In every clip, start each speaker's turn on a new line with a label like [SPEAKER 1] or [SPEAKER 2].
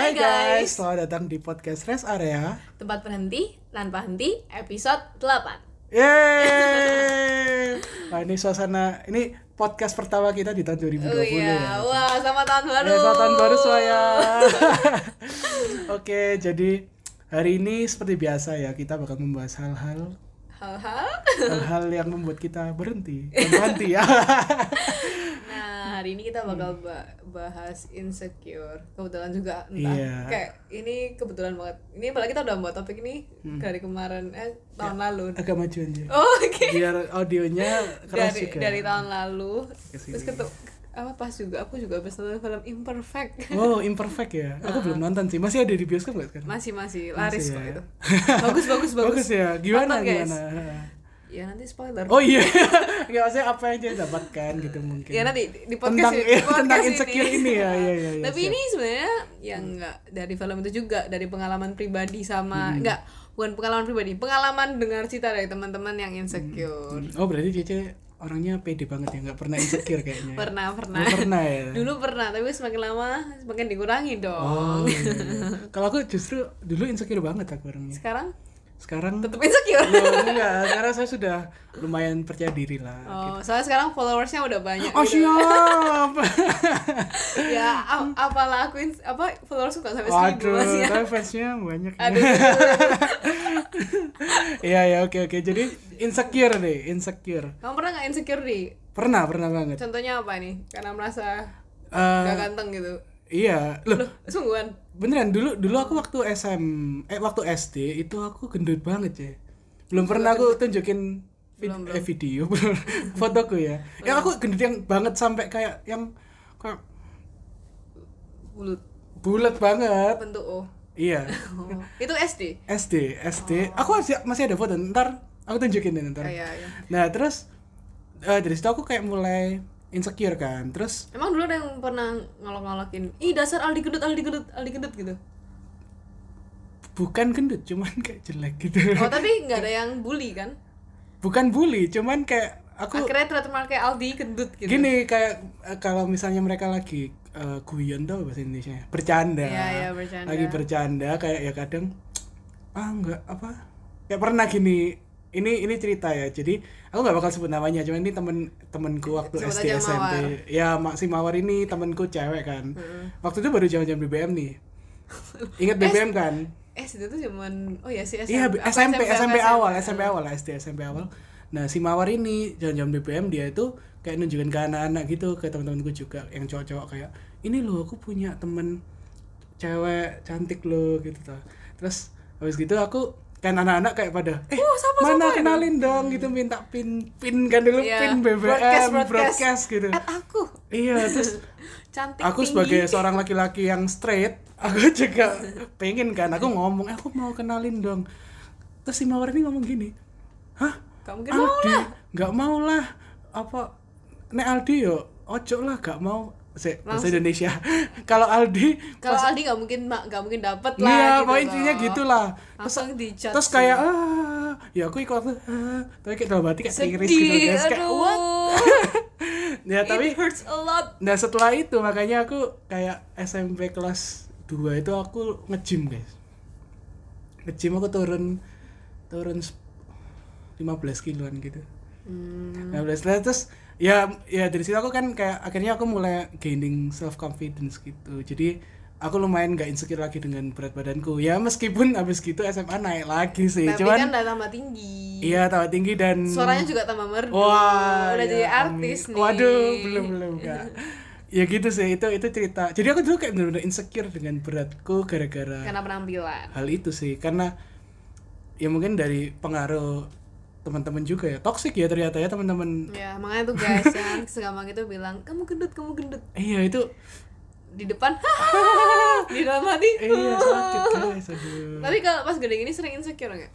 [SPEAKER 1] guys, selamat datang di podcast Rest Area.
[SPEAKER 2] Tempat berhenti tanpa henti episode 8.
[SPEAKER 1] Yeay! Wah, ini suasana ini podcast pertama kita di tahun 2020
[SPEAKER 2] Oh iya,
[SPEAKER 1] ya.
[SPEAKER 2] wah sama tahun baru.
[SPEAKER 1] Ya, selamat tahun baru semuanya. Oke, jadi hari ini seperti biasa ya kita bakal membahas hal-hal
[SPEAKER 2] Hal-hal.
[SPEAKER 1] hal-hal yang membuat kita berhenti, berhenti ya.
[SPEAKER 2] Nah, hari ini kita bakal
[SPEAKER 1] Hmm.
[SPEAKER 2] ba- bahas insecure. Kebetulan juga entah.
[SPEAKER 1] Iya.
[SPEAKER 2] Kayak ini kebetulan banget. Ini apalagi kita udah buat topik ini
[SPEAKER 1] Hmm.
[SPEAKER 2] dari kemarin eh
[SPEAKER 1] Ya.
[SPEAKER 2] tahun lalu.
[SPEAKER 1] Agak maju aja.
[SPEAKER 2] Oh, Oke.
[SPEAKER 1] Biar audionya keras
[SPEAKER 2] Dari
[SPEAKER 1] juga.
[SPEAKER 2] dari tahun lalu.
[SPEAKER 1] Kesini.
[SPEAKER 2] Terus ketuk apa pas juga aku juga habis nonton film Imperfect.
[SPEAKER 1] Wow, imperfect ya. Aku belum nonton sih. Masih ada di bioskop nggak sekarang?
[SPEAKER 2] Uh-huh. Masih masih laris
[SPEAKER 1] Masih
[SPEAKER 2] kok
[SPEAKER 1] ya.
[SPEAKER 2] itu. Bagus bagus bagus.
[SPEAKER 1] Bagus ya. Gimana
[SPEAKER 2] Nonton, guys.
[SPEAKER 1] gimana?
[SPEAKER 2] Ya nanti spoiler.
[SPEAKER 1] Oh iya. Enggak maksudnya apa yang dia dapatkan gitu mungkin.
[SPEAKER 2] Ya nanti di di podcast
[SPEAKER 1] tentang
[SPEAKER 2] ini, di
[SPEAKER 1] eh,
[SPEAKER 2] podcast
[SPEAKER 1] tentang insecure ini, ya, ya, ya, ya,
[SPEAKER 2] Tapi
[SPEAKER 1] siap. Hmm.
[SPEAKER 2] ini sebenarnya yang enggak dari film itu juga dari pengalaman pribadi sama
[SPEAKER 1] Hmm.
[SPEAKER 2] enggak bukan pengalaman pribadi, pengalaman dengar cerita dari teman-teman yang insecure.
[SPEAKER 1] Oh, berarti Cece orangnya pede banget ya, nggak pernah insecure kayaknya. ya?
[SPEAKER 2] Pernah, pernah.
[SPEAKER 1] Nggak pernah ya.
[SPEAKER 2] Dulu pernah, tapi semakin lama semakin dikurangi
[SPEAKER 1] Oh.
[SPEAKER 2] dong.
[SPEAKER 1] iya, iya. Kalau aku justru dulu insecure banget aku orangnya.
[SPEAKER 2] Sekarang
[SPEAKER 1] Sekarang
[SPEAKER 2] tetap insecure.
[SPEAKER 1] Loh, enggak, sekarang saya sudah lumayan percaya diri lah.
[SPEAKER 2] Oh, soalnya sekarang followersnya udah banyak.
[SPEAKER 1] Iya, Oh,
[SPEAKER 2] gitu.
[SPEAKER 1] siap.
[SPEAKER 2] Ya, ap- apalah aku ins- apa followers nggak sampai seribu
[SPEAKER 1] Waduh,
[SPEAKER 2] masih. ya.
[SPEAKER 1] tapi fansnya banyak. ya.
[SPEAKER 2] Aduh.
[SPEAKER 1] Iya ya, oke oke. Jadi insecure deh, insecure.
[SPEAKER 2] Kamu pernah nggak insecure di?
[SPEAKER 1] Pernah, pernah banget.
[SPEAKER 2] Contohnya apa nih? Karena merasa
[SPEAKER 1] Eh,
[SPEAKER 2] gak ganteng gitu.
[SPEAKER 1] iya, loh,
[SPEAKER 2] Loh, sungguhan.
[SPEAKER 1] beneran dulu dulu aku waktu SM eh waktu SD itu aku gendut banget ya belum pernah aku tunjukin vid-
[SPEAKER 2] Belum,
[SPEAKER 1] eh, video belum. fotoku ya ya aku gendut yang banget sampai kayak yang kayak
[SPEAKER 2] bulut
[SPEAKER 1] bulat banget
[SPEAKER 2] bentuk O.
[SPEAKER 1] iya
[SPEAKER 2] Oh. Itu SD.
[SPEAKER 1] SD SD
[SPEAKER 2] Oh.
[SPEAKER 1] aku masih, masih ada foto ntar aku tunjukin deh ntar
[SPEAKER 2] Kayak ya.
[SPEAKER 1] nah terus eh, dari situ aku kayak mulai insecure kan terus
[SPEAKER 2] Emang dulu ada yang pernah ngolok-ngolokin, "Ih, dasar Aldi gendut, Aldi gendut, Aldi gendut" gitu.
[SPEAKER 1] bukan gendut cuman kayak jelek gitu
[SPEAKER 2] Oh, tapi nggak ada yang bully kan?
[SPEAKER 1] bukan bully cuman kayak aku
[SPEAKER 2] Akhirnya trademark kayak Aldi gendut gitu.
[SPEAKER 1] Gini kayak eh, kalau misalnya mereka lagi eh, guyon tau bahasa Indonesia ya, bercanda,
[SPEAKER 2] Iya, iya, bercanda.
[SPEAKER 1] lagi bercanda kayak ya kadang ah nggak apa ya pernah gini ini ini cerita ya jadi aku nggak bakal sebut namanya cuman ini temen temenku waktu
[SPEAKER 2] Sebut
[SPEAKER 1] SD
[SPEAKER 2] aja
[SPEAKER 1] SMP ya Mak si Mawar ini temenku cewek kan waktu itu baru jam-jam BBM nih ingat BBM kan
[SPEAKER 2] SD tuh cuman oh ya sih SMP.
[SPEAKER 1] Iya,
[SPEAKER 2] Apa
[SPEAKER 1] SMP, SMP,
[SPEAKER 2] apa
[SPEAKER 1] awal, SMP awal, SD SMP awal. Nah, si Mawar ini jalan-jalan BBM dia itu kayak nunjukin ke anak-anak gitu, ke teman-temanku juga yang cowok-cowok kayak, "Ini loh, aku punya temen cewek cantik loh" gitu tuh. Terus habis gitu aku kan anak-anak kayak pada eh
[SPEAKER 2] Oh,
[SPEAKER 1] mana kenalin dong gitu minta pin pin kan dulu
[SPEAKER 2] ya?" Iya,
[SPEAKER 1] pin BBM
[SPEAKER 2] broadcast,
[SPEAKER 1] broadcast,
[SPEAKER 2] broadcast.
[SPEAKER 1] gitu
[SPEAKER 2] At aku
[SPEAKER 1] iya terus
[SPEAKER 2] cantik
[SPEAKER 1] aku
[SPEAKER 2] tinggi.
[SPEAKER 1] sebagai seorang laki-laki yang straight aku juga pengen kan
[SPEAKER 2] Nah.
[SPEAKER 1] aku ngomong "Eh, aku mau kenalin dong terus si mawar ini ngomong gini hah
[SPEAKER 2] kamu mungkin mau
[SPEAKER 1] Aldi nggak mau lah apa nek Aldi yo ojo lah nggak mau Se, bahasa Indonesia kalau Aldi
[SPEAKER 2] kalau Aldi nggak mungkin nggak mungkin dapet lah
[SPEAKER 1] iya
[SPEAKER 2] gitu
[SPEAKER 1] pokoknya intinya
[SPEAKER 2] loh.
[SPEAKER 1] gitulah terus
[SPEAKER 2] langsung dijudge
[SPEAKER 1] terus kayak ah ya aku ikut ah, tapi kayak dalam hati kayak
[SPEAKER 2] sedih
[SPEAKER 1] tingris gitu guys kayak
[SPEAKER 2] aduh
[SPEAKER 1] what ya tapi
[SPEAKER 2] it hurts a lot
[SPEAKER 1] Nah setelah itu makanya aku kayak SMP kelas 2 itu aku nge-gym guys Nge-gym aku turun turun sep- 15 kiloan gitu
[SPEAKER 2] Hmm.
[SPEAKER 1] 15 kiloan terus ya ya dari situ aku kan kayak akhirnya aku mulai gaining self confidence gitu jadi aku lumayan gak insecure lagi dengan berat badanku ya meskipun abis gitu SMA naik lagi sih
[SPEAKER 2] tapi
[SPEAKER 1] cuman
[SPEAKER 2] kan udah tambah tinggi
[SPEAKER 1] iya tambah tinggi dan
[SPEAKER 2] suaranya juga tambah merdu
[SPEAKER 1] Wah,
[SPEAKER 2] udah
[SPEAKER 1] ya
[SPEAKER 2] jadi
[SPEAKER 1] ampun.
[SPEAKER 2] artis nih
[SPEAKER 1] Waduh, belum belum Kak. ya gitu sih itu itu cerita. Jadi aku dulu kayak benar-benar insecure dengan beratku gara-gara
[SPEAKER 2] karena penampilan
[SPEAKER 1] hal itu sih karena ya mungkin dari pengaruh teman-teman juga ya toksik ya ternyata ya teman-teman
[SPEAKER 2] ya makanya tuh guys yang segampang itu bilang kamu gendut kamu gendut
[SPEAKER 1] iya itu
[SPEAKER 2] di depan "Hahaha." di dalam hati
[SPEAKER 1] iya sakit guys aduh
[SPEAKER 2] tapi kalau pas gede gini sering insecure nggak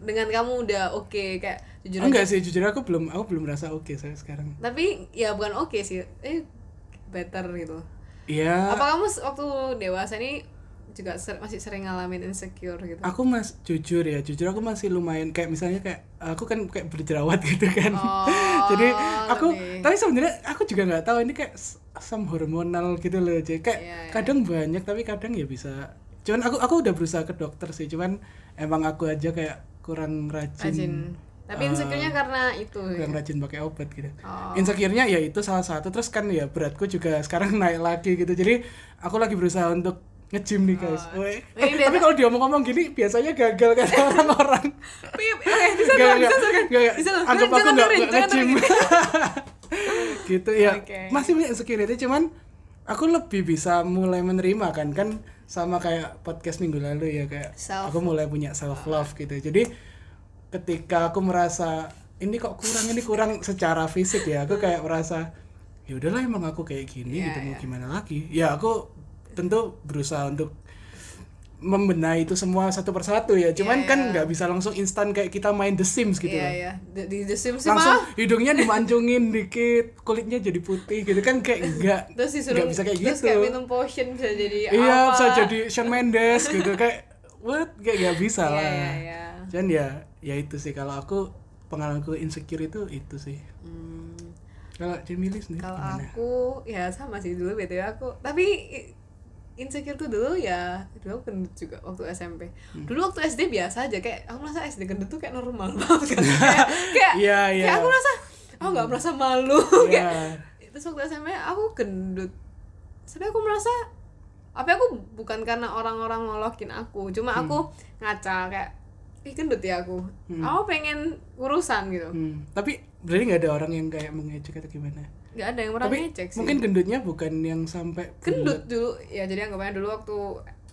[SPEAKER 2] dengan kamu udah oke kayak jujur aja
[SPEAKER 1] enggak sih jujur aku belum aku belum merasa oke saya sekarang
[SPEAKER 2] tapi ya bukan oke sih eh better gitu
[SPEAKER 1] iya
[SPEAKER 2] apa kamu s- waktu dewasa ini juga ser- masih sering ngalamin insecure gitu
[SPEAKER 1] aku mas jujur ya jujur aku masih lumayan kayak misalnya kayak aku kan kayak berjerawat gitu kan
[SPEAKER 2] Oh,
[SPEAKER 1] jadi aku
[SPEAKER 2] lebih.
[SPEAKER 1] tapi sebenarnya aku juga nggak tahu ini kayak s- asam hormonal gitu loh jadi kayak
[SPEAKER 2] Iya, iya.
[SPEAKER 1] kadang banyak tapi kadang ya bisa cuman aku aku udah berusaha ke dokter sih cuman emang aku aja kayak kurang rajin,
[SPEAKER 2] Rajin. Tapi
[SPEAKER 1] Ah.
[SPEAKER 2] insecure-nya karena itu. ya?
[SPEAKER 1] kurang rajin pakai obat gitu
[SPEAKER 2] Oh.
[SPEAKER 1] insecure-nya ya itu salah satu terus kan ya beratku juga sekarang naik lagi gitu jadi aku lagi berusaha untuk nge-gym nih guys
[SPEAKER 2] Oh.
[SPEAKER 1] Weh.
[SPEAKER 2] Ini
[SPEAKER 1] tapi
[SPEAKER 2] dia-
[SPEAKER 1] kalau diomong-omong gini biasanya gagal kata orang-orang
[SPEAKER 2] Pip, eh, bisa
[SPEAKER 1] Nggak,
[SPEAKER 2] dong,
[SPEAKER 1] nggak,
[SPEAKER 2] bisa dong.
[SPEAKER 1] nggak, nggak.
[SPEAKER 2] Bisa dong.
[SPEAKER 1] anggap
[SPEAKER 2] Jangan
[SPEAKER 1] aku nggak
[SPEAKER 2] dengerin,
[SPEAKER 1] nggak
[SPEAKER 2] jangan
[SPEAKER 1] nge-gym gitu ya
[SPEAKER 2] Oke.
[SPEAKER 1] masih punya insecurity cuman aku lebih bisa mulai menerima kan kan sama kayak podcast minggu lalu ya kayak
[SPEAKER 2] Self-
[SPEAKER 1] aku mulai punya self love gitu jadi ketika aku merasa ini kok kurang ini kurang secara fisik ya aku kayak merasa ya udahlah emang aku kayak gini
[SPEAKER 2] Iya,
[SPEAKER 1] gitu mau
[SPEAKER 2] iya.
[SPEAKER 1] gimana lagi ya aku tentu berusaha untuk membenahi itu semua satu persatu ya
[SPEAKER 2] Iya,
[SPEAKER 1] cuman kan
[SPEAKER 2] iya.
[SPEAKER 1] nggak bisa langsung instan kayak kita main The Sims gitu
[SPEAKER 2] Iya,
[SPEAKER 1] loh
[SPEAKER 2] iya. Di di The Sims sih
[SPEAKER 1] langsung
[SPEAKER 2] malah.
[SPEAKER 1] hidungnya dimancungin dikit kulitnya jadi putih gitu kan kayak enggak
[SPEAKER 2] Terus disuruh,
[SPEAKER 1] nggak bisa kayak
[SPEAKER 2] terus
[SPEAKER 1] gitu.
[SPEAKER 2] kayak minum potion bisa jadi
[SPEAKER 1] iya
[SPEAKER 2] apa.
[SPEAKER 1] bisa jadi Shawn Mendes gitu kayak what kayak nggak bisa
[SPEAKER 2] Iya,
[SPEAKER 1] lah
[SPEAKER 2] iya, iya.
[SPEAKER 1] cuman ya ya itu sih kalau aku pengalamanku insecure itu itu sih
[SPEAKER 2] Hmm.
[SPEAKER 1] kalau Jemilis nih
[SPEAKER 2] Kalau
[SPEAKER 1] gimana?
[SPEAKER 2] aku ya sama sih dulu BTW aku. Tapi i- insecure tuh dulu ya, dulu aku gendut juga waktu SMP.
[SPEAKER 1] Hmm.
[SPEAKER 2] Dulu waktu SD biasa aja kayak aku merasa SD gendut tuh kayak normal banget kan. kayak kayak,
[SPEAKER 1] Iya, iya.
[SPEAKER 2] kayak aku merasa aku nggak merasa malu
[SPEAKER 1] Iya.
[SPEAKER 2] kayak terus waktu SMP aku gendut. Sebenarnya aku merasa apa aku bukan karena orang-orang ngolokin aku, cuma aku ngaca kayak ih gendut ya aku.
[SPEAKER 1] Hmm.
[SPEAKER 2] Aku pengen urusan gitu.
[SPEAKER 1] Hmm, tapi berarti nggak ada orang yang kayak mengejek atau gimana
[SPEAKER 2] nggak ada yang pernah
[SPEAKER 1] tapi
[SPEAKER 2] ngecek sih.
[SPEAKER 1] mungkin gendutnya bukan yang sampai
[SPEAKER 2] gendut dulu ya jadi anggapannya dulu waktu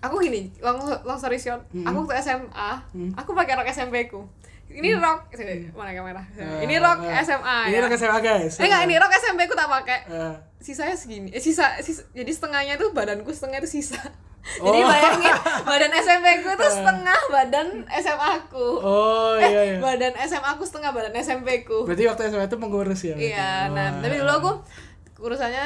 [SPEAKER 2] aku gini long, long story short
[SPEAKER 1] Mhm.
[SPEAKER 2] aku waktu SMA
[SPEAKER 1] Mhm.
[SPEAKER 2] aku pakai rok SMP ku ini
[SPEAKER 1] Hmm.
[SPEAKER 2] rok sini, mana kamera
[SPEAKER 1] Eh,
[SPEAKER 2] ini rok
[SPEAKER 1] eh,
[SPEAKER 2] SMA
[SPEAKER 1] ini
[SPEAKER 2] ya.
[SPEAKER 1] rok SMA guys
[SPEAKER 2] eh enggak ini rok SMP ku tak pakai
[SPEAKER 1] Eh,
[SPEAKER 2] sisanya segini eh, sisa, sisa jadi setengahnya tuh badanku setengah itu sisa
[SPEAKER 1] Oh.
[SPEAKER 2] jadi bayangin badan SMP ku tuh
[SPEAKER 1] Eh.
[SPEAKER 2] setengah badan SMA ku
[SPEAKER 1] oh
[SPEAKER 2] eh,
[SPEAKER 1] iya iya
[SPEAKER 2] badan SMA ku setengah badan SMP ku
[SPEAKER 1] Berarti waktu SMA itu mengurus ya? berarti?
[SPEAKER 2] Iya,
[SPEAKER 1] Wah.
[SPEAKER 2] nah tapi dulu aku urusannya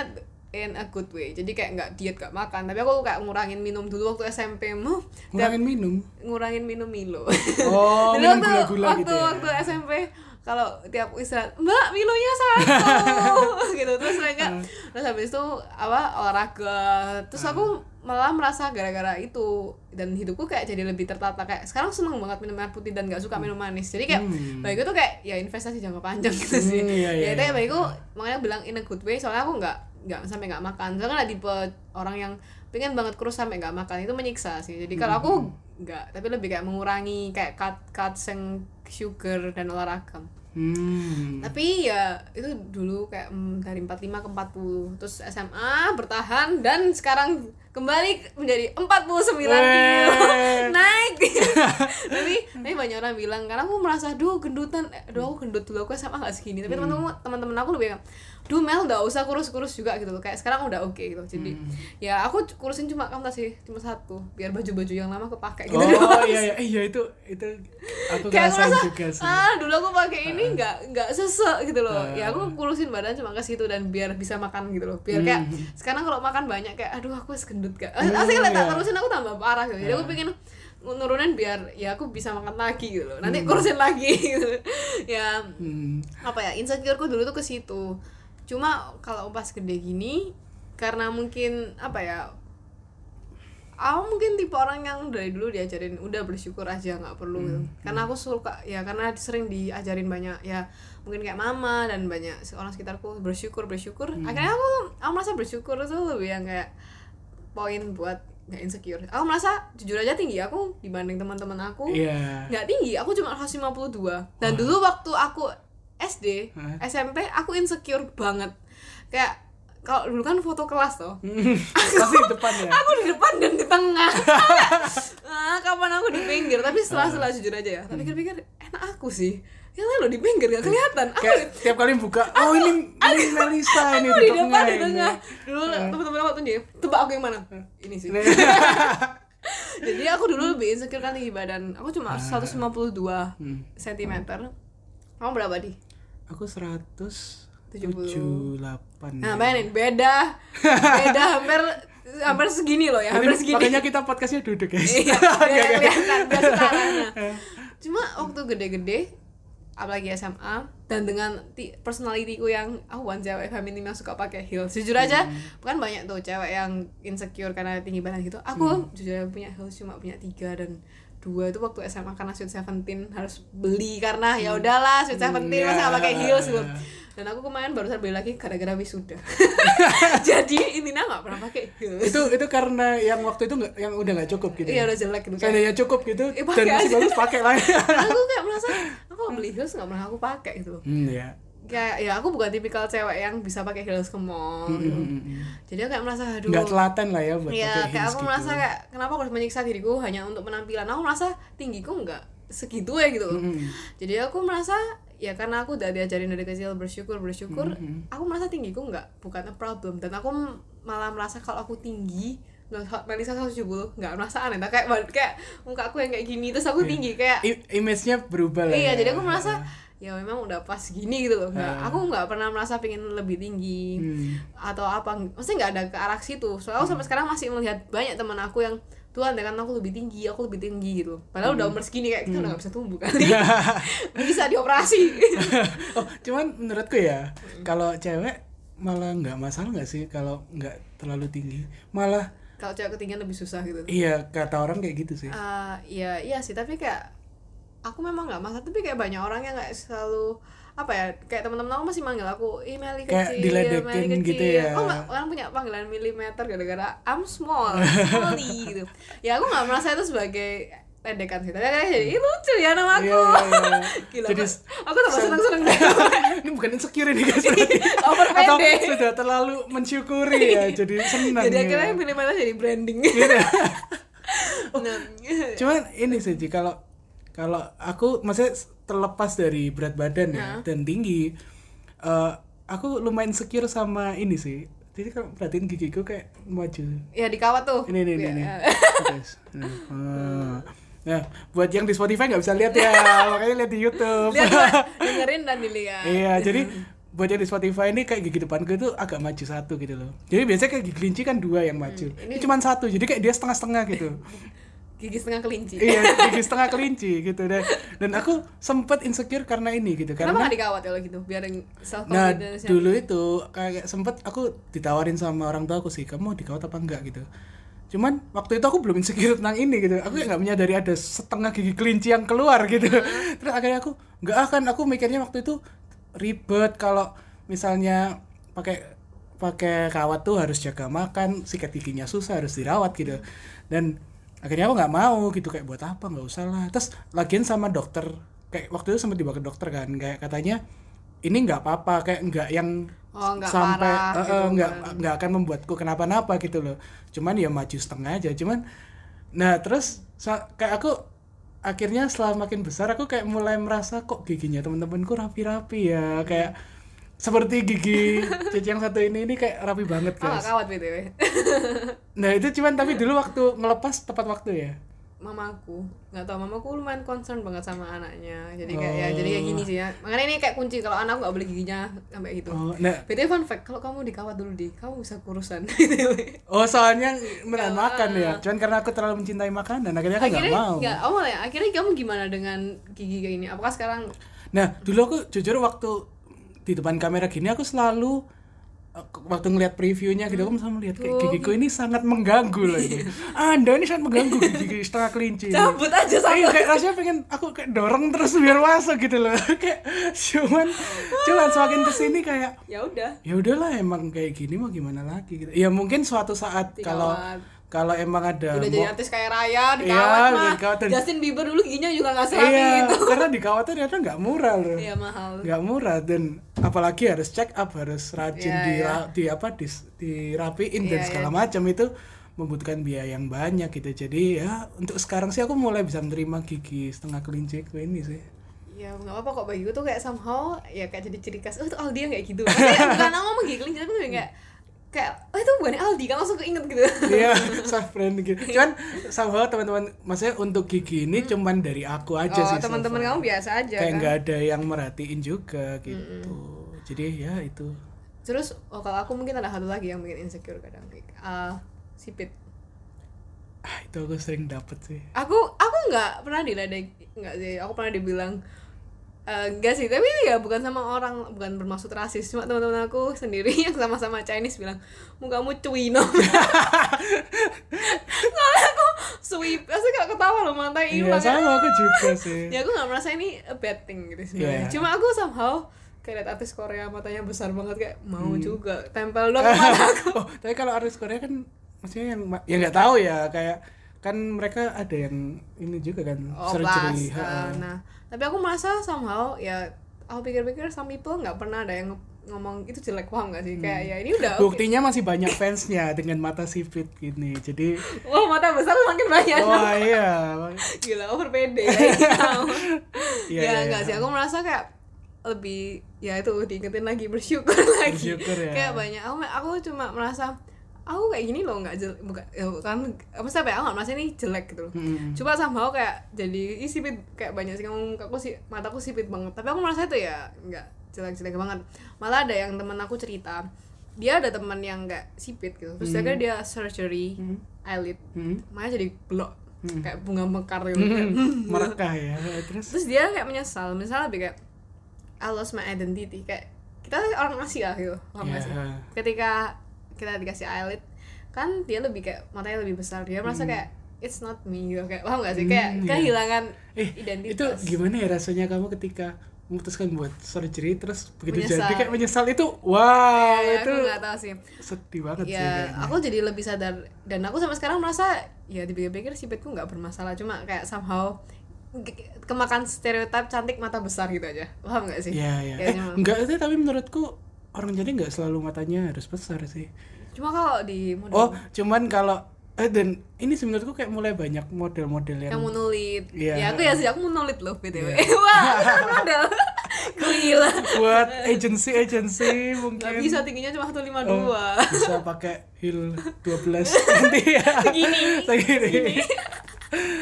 [SPEAKER 2] in a good way. Jadi kayak nggak diet, nggak makan. Tapi aku kayak ngurangin minum dulu waktu SMP mu. Dan
[SPEAKER 1] ngurangin minum.
[SPEAKER 2] ngurangin minum Milo.
[SPEAKER 1] Oh,
[SPEAKER 2] Dulu
[SPEAKER 1] minum
[SPEAKER 2] waktu-
[SPEAKER 1] gula-gula
[SPEAKER 2] waktu,
[SPEAKER 1] gitu ya.
[SPEAKER 2] Waktu SMP kalau tiap istirahat, Mbak Milonya satu, gitu terus mereka
[SPEAKER 1] Hmm.
[SPEAKER 2] terus habis itu apa olahraga terus aku
[SPEAKER 1] Hmm.
[SPEAKER 2] malah merasa gara-gara itu dan hidupku kayak jadi lebih tertata kayak sekarang seneng banget minum air putih dan nggak suka minum manis jadi kayak
[SPEAKER 1] Hmm.
[SPEAKER 2] bagiku tuh kayak ya investasi jangka panjang gitu
[SPEAKER 1] Hmm,
[SPEAKER 2] sih
[SPEAKER 1] iya, iya,
[SPEAKER 2] ya itu
[SPEAKER 1] iya.
[SPEAKER 2] ya bagiku makanya bilang in a good way soalnya aku nggak nggak sampai nggak makan soalnya kan ada tipe orang yang pengen banget kurus sampai nggak makan itu menyiksa sih jadi kalau aku
[SPEAKER 1] Mm-hmm.
[SPEAKER 2] nggak tapi lebih kayak mengurangi kayak cut cut yang sugar dan olahraga
[SPEAKER 1] Hmm.
[SPEAKER 2] tapi ya itu dulu kayak mm, dari 45 ke 40 terus SMA bertahan dan sekarang kembali menjadi 49 kilo
[SPEAKER 1] Weh.
[SPEAKER 2] naik tapi tapi banyak orang bilang karena aku merasa duh gendutan Eh, aduh aku gendut dulu aku SMA gak segini
[SPEAKER 1] Hmm.
[SPEAKER 2] tapi teman-teman teman-teman aku lebih bilang duh Mel gak usah kurus-kurus juga gitu loh kayak sekarang udah oke gitu jadi
[SPEAKER 1] Hmm.
[SPEAKER 2] ya aku c- kurusin cuma kamu tau sih cuma satu biar baju-baju yang lama kepake gitu
[SPEAKER 1] Oh
[SPEAKER 2] doang.
[SPEAKER 1] iya iya Eh, iya itu itu aku
[SPEAKER 2] kayak aku
[SPEAKER 1] ngerasain
[SPEAKER 2] rasa
[SPEAKER 1] juga sih.
[SPEAKER 2] ah dulu aku pakai ini nggak nggak sesek gitu loh
[SPEAKER 1] Ah.
[SPEAKER 2] ya aku kurusin badan cuma ke situ dan biar bisa makan gitu loh biar kayak sekarang kalau makan banyak kayak aduh aku harus gendut kayak
[SPEAKER 1] Hmm,
[SPEAKER 2] asli kalau tak
[SPEAKER 1] iya. Ah.
[SPEAKER 2] kurusin aku tambah parah gitu jadi aku pengen nurunin biar ya aku bisa makan lagi gitu loh nanti kurusin lagi gitu ya
[SPEAKER 1] Hmm.
[SPEAKER 2] apa ya insecureku dulu tuh ke situ cuma kalau pas gede gini karena mungkin apa ya aku mungkin tipe orang yang dari dulu diajarin udah bersyukur aja nggak perlu gitu. karena aku suka ya karena sering diajarin banyak ya mungkin kayak mama dan banyak orang sekitarku bersyukur bersyukur akhirnya aku aku merasa bersyukur tuh lebih yang kayak poin buat nggak insecure aku merasa jujur aja tinggi aku dibanding teman-teman aku
[SPEAKER 1] Iya.
[SPEAKER 2] nggak tinggi aku cuma 152 dan dulu waktu aku SD
[SPEAKER 1] Hah?
[SPEAKER 2] SMP aku insecure banget kayak kalau dulu kan foto kelas tuh
[SPEAKER 1] Hmm. Pasti di depan ya.
[SPEAKER 2] aku di depan dan di tengah ah, kapan aku di pinggir tapi setelah
[SPEAKER 1] Ah.
[SPEAKER 2] setelah jujur aja ya tapi pikir-pikir enak aku sih yang lain lo di pinggir gak kelihatan aku
[SPEAKER 1] Hmm. Kayak tiap kali buka, oh ini ini Melisa ini
[SPEAKER 2] aku di depan di
[SPEAKER 1] ini. Ah.
[SPEAKER 2] tengah dulu teman-teman aku tuh dia tebak aku yang mana ini sih
[SPEAKER 1] Ini.
[SPEAKER 2] jadi aku dulu lebih insecure kan tinggi badan aku
[SPEAKER 1] Ah.
[SPEAKER 2] cuma 152
[SPEAKER 1] Hmm.
[SPEAKER 2] cm kamu berapa di
[SPEAKER 1] Aku 100
[SPEAKER 2] 70.
[SPEAKER 1] 78
[SPEAKER 2] Nah,
[SPEAKER 1] ya.
[SPEAKER 2] bayangin beda beda hampir hampir segini loh ya, hampir
[SPEAKER 1] Nanti
[SPEAKER 2] segini.
[SPEAKER 1] makanya kita podcastnya duduk guys
[SPEAKER 2] Iya, biar kelihatan biar setaranya. Cuma waktu gede-gede apalagi SMA dan dengan ti- personalitiku yang aku bukan cewek feminim yang suka pakai heels jujur aja
[SPEAKER 1] Hmm.
[SPEAKER 2] bukan banyak tuh cewek yang insecure karena tinggi badan gitu
[SPEAKER 1] Hmm.
[SPEAKER 2] aku jujur aja punya heels cuma punya tiga dan dua itu waktu SMA karena Sweet Seventeen harus beli karena ya udahlah Sweet
[SPEAKER 1] Hmm,
[SPEAKER 2] Seventeen
[SPEAKER 1] ya.
[SPEAKER 2] masa nggak pakai heels gitu dan aku kemarin barusan beli lagi gara-gara wisuda jadi intinya nggak pernah pakai heels
[SPEAKER 1] itu itu karena yang waktu itu nggak yang udah nggak cukup gitu
[SPEAKER 2] iya udah jelek gitu kan
[SPEAKER 1] seandainya cukup gitu
[SPEAKER 2] Eh,
[SPEAKER 1] dan
[SPEAKER 2] pakai
[SPEAKER 1] masih
[SPEAKER 2] aja.
[SPEAKER 1] bagus pakai lagi
[SPEAKER 2] aku kayak merasa aku kalau beli heels nggak pernah aku pakai gitu loh
[SPEAKER 1] hmm ya
[SPEAKER 2] kayak ya aku bukan tipikal cewek yang bisa pakai heels ke mall
[SPEAKER 1] Hmm,
[SPEAKER 2] gitu. jadi aku kayak merasa aduh
[SPEAKER 1] nggak telaten lah ya buat
[SPEAKER 2] ya
[SPEAKER 1] pakai
[SPEAKER 2] kayak
[SPEAKER 1] heels
[SPEAKER 2] aku
[SPEAKER 1] gitu.
[SPEAKER 2] merasa kayak kenapa aku harus menyiksa diriku hanya untuk penampilan aku merasa tinggiku nggak segitu ya gitu loh
[SPEAKER 1] Mm-mm.
[SPEAKER 2] jadi aku merasa ya karena aku udah diajarin dari kecil bersyukur bersyukur
[SPEAKER 1] Mm-mm.
[SPEAKER 2] aku merasa tinggiku nggak bukan a problem dan aku m- malah merasa kalau aku tinggi nggak Melisa 170 nggak merasa aneh Nah, kayak kayak muka aku yang kayak gini terus aku
[SPEAKER 1] Iya.
[SPEAKER 2] tinggi kayak
[SPEAKER 1] I- image-nya berubah lah
[SPEAKER 2] iya
[SPEAKER 1] ya.
[SPEAKER 2] jadi aku merasa ya memang udah pas gini gitu loh nggak
[SPEAKER 1] Ah.
[SPEAKER 2] aku nggak pernah merasa pengen lebih tinggi
[SPEAKER 1] Hmm.
[SPEAKER 2] atau apa maksudnya nggak ada ke arah situ soalnya aku sampai sekarang masih melihat banyak teman aku yang Tuhan dengan aku lebih tinggi aku lebih tinggi gitu padahal
[SPEAKER 1] Hmm.
[SPEAKER 2] udah umur segini kayak kita udah nggak bisa tumbuh kali bisa dioperasi
[SPEAKER 1] oh cuman menurutku ya
[SPEAKER 2] Hmm.
[SPEAKER 1] kalau cewek malah nggak masalah nggak sih kalau nggak terlalu tinggi malah
[SPEAKER 2] kalau cewek ketinggian lebih susah gitu
[SPEAKER 1] iya kata orang kayak gitu sih
[SPEAKER 2] Eh, iya iya sih tapi kayak aku memang nggak masalah tapi kayak banyak orang yang kayak selalu apa ya kayak teman-teman aku masih manggil aku ih Meli
[SPEAKER 1] Kayak
[SPEAKER 2] kecil
[SPEAKER 1] diledekin
[SPEAKER 2] Meli kecil
[SPEAKER 1] gitu ya.
[SPEAKER 2] oh nggak orang punya panggilan milimeter gara-gara I'm small Smally gitu ya aku nggak merasa itu sebagai ledekan sih tapi kayak jadi "Ih, lucu ya nama aku
[SPEAKER 1] Iya, iya, iya.
[SPEAKER 2] gila
[SPEAKER 1] Jadi-
[SPEAKER 2] aku, aku tambah seneng-seneng deh
[SPEAKER 1] ini bukan insecure ini guys berarti
[SPEAKER 2] Iya.
[SPEAKER 1] atau
[SPEAKER 2] overpendek
[SPEAKER 1] sudah terlalu mensyukuri ya jadi senang
[SPEAKER 2] jadi
[SPEAKER 1] ya. Iya.
[SPEAKER 2] akhirnya milimeter jadi branding nah,
[SPEAKER 1] cuman ini sih Ji, kalau kalau aku maksudnya terlepas dari berat badan ya dan tinggi eh, aku lumayan secure sama ini sih jadi kalau perhatiin gigiku kayak maju
[SPEAKER 2] ya dikawat tuh
[SPEAKER 1] ini ini ini, ini.
[SPEAKER 2] Ya.
[SPEAKER 1] Guys. Nah, ah. nah buat yang di Spotify nggak bisa lihat ya makanya lihat di YouTube
[SPEAKER 2] lihat Mbak. dengerin dan dilihat
[SPEAKER 1] iya jadi buat yang di Spotify ini kayak gigi depanku itu agak maju satu gitu loh jadi biasanya kayak gigi kelinci kan dua yang maju ini, cuma satu jadi kayak dia setengah setengah gitu
[SPEAKER 2] gigi setengah kelinci
[SPEAKER 1] iya gigi setengah kelinci gitu dan dan aku sempet insecure karena ini gitu
[SPEAKER 2] kenapa
[SPEAKER 1] karena
[SPEAKER 2] nggak dikawat kalau gitu biar self
[SPEAKER 1] Nah
[SPEAKER 2] confidence
[SPEAKER 1] dulu itu kayak sempet aku ditawarin sama orang tua aku sih kamu mau dikawat apa enggak gitu. Cuman waktu itu aku belum insecure tentang ini gitu. Aku kayak nggak menyadari ada setengah gigi kelinci yang keluar gitu. Terus akhirnya aku nggak akan aku mikirnya waktu itu ribet kalau misalnya pakai pakai kawat tuh harus jaga makan, sikat giginya susah harus dirawat gitu. Dan akhirnya aku nggak mau gitu kayak buat apa nggak usah lah. Terus lagian sama dokter kayak waktu itu sempat dibawa ke dokter kan kayak katanya ini nggak apa-apa kayak nggak yang
[SPEAKER 2] Oh, nggak
[SPEAKER 1] sampai
[SPEAKER 2] parah
[SPEAKER 1] eh, eh,
[SPEAKER 2] gitu
[SPEAKER 1] nggak
[SPEAKER 2] kan.
[SPEAKER 1] nggak akan membuatku kenapa-napa gitu loh cuman ya maju setengah aja cuman nah terus sa- kayak aku akhirnya setelah makin besar aku kayak mulai merasa kok giginya temen-temenku rapi-rapi ya kayak seperti gigi cici yang satu ini ini kayak rapi banget
[SPEAKER 2] oh nggak
[SPEAKER 1] guys
[SPEAKER 2] kawat btw
[SPEAKER 1] nah itu cuman tapi dulu waktu ngelepas tepat waktu ya
[SPEAKER 2] mamaku nggak tau mamaku lumayan concern banget sama anaknya jadi kayak ya jadi kayak gini sih ya makanya ini kayak kunci kalau anak nggak boleh giginya sampai gitu
[SPEAKER 1] oh nah
[SPEAKER 2] btw fun fact kalau kamu dikawat dulu di kamu bisa kurusan gitu
[SPEAKER 1] oh soalnya menahan makan ya cuman karena aku terlalu mencintai makanan akhirnya aku nggak
[SPEAKER 2] akhirnya
[SPEAKER 1] mau
[SPEAKER 2] nggak awal ya akhirnya kamu gimana dengan gigi kayak ini apakah sekarang
[SPEAKER 1] Nah, dulu aku jujur waktu di depan kamera gini aku selalu eh, waktu ngeliat previewnya gitu aku selalu melihat kayak
[SPEAKER 2] Oh.
[SPEAKER 1] gigiku ini sangat mengganggu loh ini. Ah, Anda ini sangat mengganggu gigi setengah kelinci. ini.
[SPEAKER 2] cabut aja satu
[SPEAKER 1] Iya, kayak rasanya pengen aku kayak dorong terus biar masuk gitu loh. kayak cuman cuman semakin kesini kayak
[SPEAKER 2] ya udah
[SPEAKER 1] ya udahlah emang kayak gini mau gimana lagi gitu. Ya mungkin suatu saat kalau
[SPEAKER 2] Dikawat.
[SPEAKER 1] kalau emang ada
[SPEAKER 2] udah
[SPEAKER 1] mo-
[SPEAKER 2] jadi artis kayak Raya
[SPEAKER 1] Ya, Iya,
[SPEAKER 2] dikawat mah
[SPEAKER 1] dikawat dan-
[SPEAKER 2] Justin Bieber dulu giginya juga nggak serapi
[SPEAKER 1] Iya,
[SPEAKER 2] gitu
[SPEAKER 1] karena di kawat ternyata nggak murah loh.
[SPEAKER 2] iya mahal
[SPEAKER 1] nggak murah dan apalagi harus check up harus rajin
[SPEAKER 2] Iya,
[SPEAKER 1] di,
[SPEAKER 2] iya.
[SPEAKER 1] di apa dis- dirapiin dan
[SPEAKER 2] Iya,
[SPEAKER 1] segala macam itu membutuhkan biaya yang banyak gitu jadi ya untuk sekarang sih aku mulai bisa menerima gigi setengah kelinci aku ini sih
[SPEAKER 2] ya nggak apa-apa kok bagi gue tuh kayak somehow ya kayak jadi ciri khas oh itu Aldi yang kayak gitu Maksudnya bukan nama menggiling tapi tuh kayak kayak oh itu bukan Aldi kan langsung keinget gitu
[SPEAKER 1] iya self brand gitu cuman somehow teman-teman maksudnya untuk gigi ini cuman dari aku aja
[SPEAKER 2] Hmm. oh
[SPEAKER 1] sih so
[SPEAKER 2] teman-teman
[SPEAKER 1] far.
[SPEAKER 2] kamu biasa aja
[SPEAKER 1] kayak
[SPEAKER 2] kan Hmm.
[SPEAKER 1] nggak ada yang merhatiin juga gitu jadi ya itu
[SPEAKER 2] terus oh, kalau aku mungkin ada satu lagi yang bikin insecure kadang kayak ah, sipit
[SPEAKER 1] ah, itu aku sering dapet sih
[SPEAKER 2] aku aku nggak pernah diledek nggak sih aku pernah dibilang Eh, enggak sih tapi ya bukan sama orang bukan bermaksud rasis cuma teman-teman aku sendiri yang sama-sama Chinese bilang mukamu cuino soalnya aku sweep pasti gak ketawa loh mantai
[SPEAKER 1] Iya
[SPEAKER 2] hilang
[SPEAKER 1] sama aku juga sih.
[SPEAKER 2] kan? ya aku gak merasa ini a bad thing gitu sebenarnya
[SPEAKER 1] Iya.
[SPEAKER 2] cuma aku somehow kayak liat artis Korea matanya besar banget kayak mau
[SPEAKER 1] Hmm.
[SPEAKER 2] juga tempel dong ke mata aku
[SPEAKER 1] oh, tapi kalau artis Korea kan maksudnya yang ma- ya nggak tahu ya kayak kan mereka ada yang ini juga kan
[SPEAKER 2] oh
[SPEAKER 1] surgery.
[SPEAKER 2] plus Eh,
[SPEAKER 1] ha-ha.
[SPEAKER 2] nah tapi aku merasa somehow ya aku pikir-pikir some people nggak pernah ada yang nge- ngomong itu jelek paham gak sih
[SPEAKER 1] Hmm.
[SPEAKER 2] kayak ya ini udah oke.
[SPEAKER 1] Buktinya masih banyak fansnya dengan mata sipit gini. Jadi
[SPEAKER 2] wah mata besar makin banyak
[SPEAKER 1] wah iya.
[SPEAKER 2] gila over pede ya
[SPEAKER 1] Iya,
[SPEAKER 2] ya
[SPEAKER 1] iya,
[SPEAKER 2] enggak
[SPEAKER 1] iya.
[SPEAKER 2] sih aku merasa kayak lebih ya itu diingetin lagi bersyukur lagi
[SPEAKER 1] Bersyukur ya.
[SPEAKER 2] kayak banyak aku aku cuma merasa aku kayak gini loh nggak jelek bukan ya bukan apa sih apa ya, aku nggak merasa ini jelek gitu loh
[SPEAKER 1] Mm-mm.
[SPEAKER 2] cuma sama kayak jadi ih, sipit kayak banyak sih ngomong ke aku sih mataku sipit banget tapi aku merasa itu ya nggak jelek-jelek banget malah ada yang temen aku cerita dia ada temen yang nggak sipit gitu terus akhirnya dia surgery
[SPEAKER 1] Hmm.
[SPEAKER 2] eyelid
[SPEAKER 1] Mm-mm.
[SPEAKER 2] makanya jadi blok
[SPEAKER 1] Hmm.
[SPEAKER 2] kayak bunga mekar gitu
[SPEAKER 1] Mm-mm. Merekah ya. Terus
[SPEAKER 2] terus dia kayak menyesal menyesal lebih kayak I lost my identity kayak kita orang Asia gitu paham nggak sih?
[SPEAKER 1] Ya.
[SPEAKER 2] ketika kita dikasih eyelid kan dia lebih kayak matanya lebih besar dia merasa kayak it's not me gitu kayak paham gak sih kayak
[SPEAKER 1] Hmm, iya.
[SPEAKER 2] kehilangan
[SPEAKER 1] eh itu
[SPEAKER 2] identitas
[SPEAKER 1] gimana ya rasanya kamu ketika memutuskan buat surgery terus begitu
[SPEAKER 2] Menyesal.
[SPEAKER 1] jadi kayak menyesal itu wow
[SPEAKER 2] Ya,
[SPEAKER 1] Oh, itu
[SPEAKER 2] aku nggak tahu sih
[SPEAKER 1] sedih banget sih
[SPEAKER 2] ya
[SPEAKER 1] kayaknya.
[SPEAKER 2] aku jadi lebih sadar dan aku sampai sekarang merasa ya dipikir-pikir sipitku nggak bermasalah cuma kayak somehow ke- kemakan stereotip cantik mata besar gitu aja paham gak sih gitu.
[SPEAKER 1] Iya, iya. Eh,
[SPEAKER 2] Kayaknya mah.
[SPEAKER 1] enggak sih, tapi menurutku orang jadi nggak selalu matanya harus besar sih.
[SPEAKER 2] cuma kalau di model
[SPEAKER 1] Oh, cuman kalau eh dan ini sih menurutku kayak mulai banyak model-model yang,
[SPEAKER 2] yang monolit
[SPEAKER 1] Iya.
[SPEAKER 2] ya aku ya sih aku monolit loh btw wah beneran model gila
[SPEAKER 1] buat agency-agency
[SPEAKER 2] nggak
[SPEAKER 1] mungkin
[SPEAKER 2] bisa tingginya cuma satu lima
[SPEAKER 1] Oh,
[SPEAKER 2] dua
[SPEAKER 1] bisa pakai heel 12 nanti ya.
[SPEAKER 2] Segini.
[SPEAKER 1] Segini.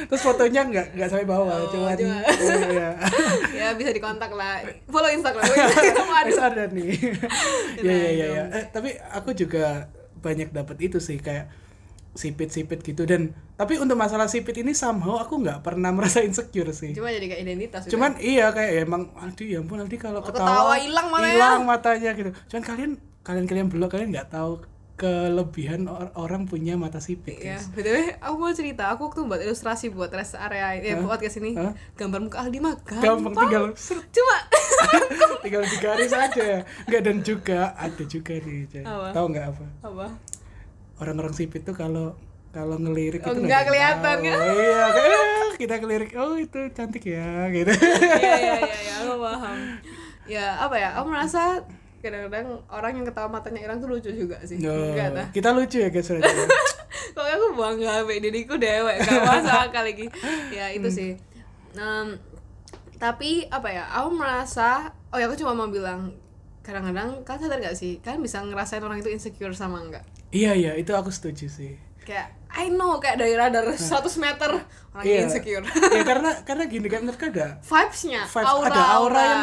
[SPEAKER 1] Terus fotonya nggak nggak sampai bawah,
[SPEAKER 2] Oh,
[SPEAKER 1] cuman
[SPEAKER 2] cuma-
[SPEAKER 1] oh, iya.
[SPEAKER 2] ya bisa dikontak lah follow instagram aku Instagram, aduh
[SPEAKER 1] SR dan nih. Ya ya ya ya.
[SPEAKER 2] dong.
[SPEAKER 1] Eh, tapi aku juga banyak dapat itu sih kayak sipit-sipit gitu dan tapi untuk masalah sipit ini somehow aku nggak pernah merasa insecure sih.
[SPEAKER 2] cuma jadi kayak identitas udah.
[SPEAKER 1] Cuman iya kayak ya, emang aduh ya ampun nanti kalau
[SPEAKER 2] Oh,
[SPEAKER 1] ketawa
[SPEAKER 2] ketawa hilang ya?" matanya.
[SPEAKER 1] hilang matanya gitu. Cuman kalian kalian kalian belum kalian nggak tahu kelebihan or- orang punya mata sipit.
[SPEAKER 2] Ya,
[SPEAKER 1] guys.
[SPEAKER 2] btw, aku mau cerita. Aku waktu buat ilustrasi buat rest area, eh,
[SPEAKER 1] Hah?
[SPEAKER 2] buat ke sini,
[SPEAKER 1] Hah?
[SPEAKER 2] gambar muka Aldi mah
[SPEAKER 1] Gampang
[SPEAKER 2] gampang.
[SPEAKER 1] tinggal ser-
[SPEAKER 2] Cuma
[SPEAKER 1] tinggal digaris aja. Enggak dan juga ada juga nih. Jay.
[SPEAKER 2] Apa?
[SPEAKER 1] Tahu nggak apa?
[SPEAKER 2] apa?
[SPEAKER 1] orang-orang sipit tuh kalau kalau ngelirik
[SPEAKER 2] Oh,
[SPEAKER 1] itu
[SPEAKER 2] nggak
[SPEAKER 1] ada yang
[SPEAKER 2] kelihatan,
[SPEAKER 1] tahu.
[SPEAKER 2] kan?
[SPEAKER 1] iya kayak, "Eh," kita ngelirik oh itu cantik ya gitu
[SPEAKER 2] Iya, iya, iya, ya, aku paham. Ya, apa ya? Aku merasa kadang-kadang orang yang ketawa matanya hilang tuh lucu juga sih.
[SPEAKER 1] No,
[SPEAKER 2] Iya, Enggak dah.
[SPEAKER 1] kita lucu ya guys berarti.
[SPEAKER 2] Pokoknya aku bangga sama diriku dewek, gak masalah kali lagi. Ya,
[SPEAKER 1] Hmm.
[SPEAKER 2] itu sih. Em, tapi apa ya? Aku merasa, oh ya aku cuma mau bilang kadang-kadang kan sadar gak sih? Kan bisa ngerasain orang itu insecure sama enggak?
[SPEAKER 1] iya iya itu aku setuju sih
[SPEAKER 2] kayak I know kayak dari radar 100 meter orang
[SPEAKER 1] Hmm. Iya.
[SPEAKER 2] insecure
[SPEAKER 1] ya karena karena gini kan menurut ada
[SPEAKER 2] vibesnya
[SPEAKER 1] vibes
[SPEAKER 2] aura,
[SPEAKER 1] ada aura,
[SPEAKER 2] aura.
[SPEAKER 1] yang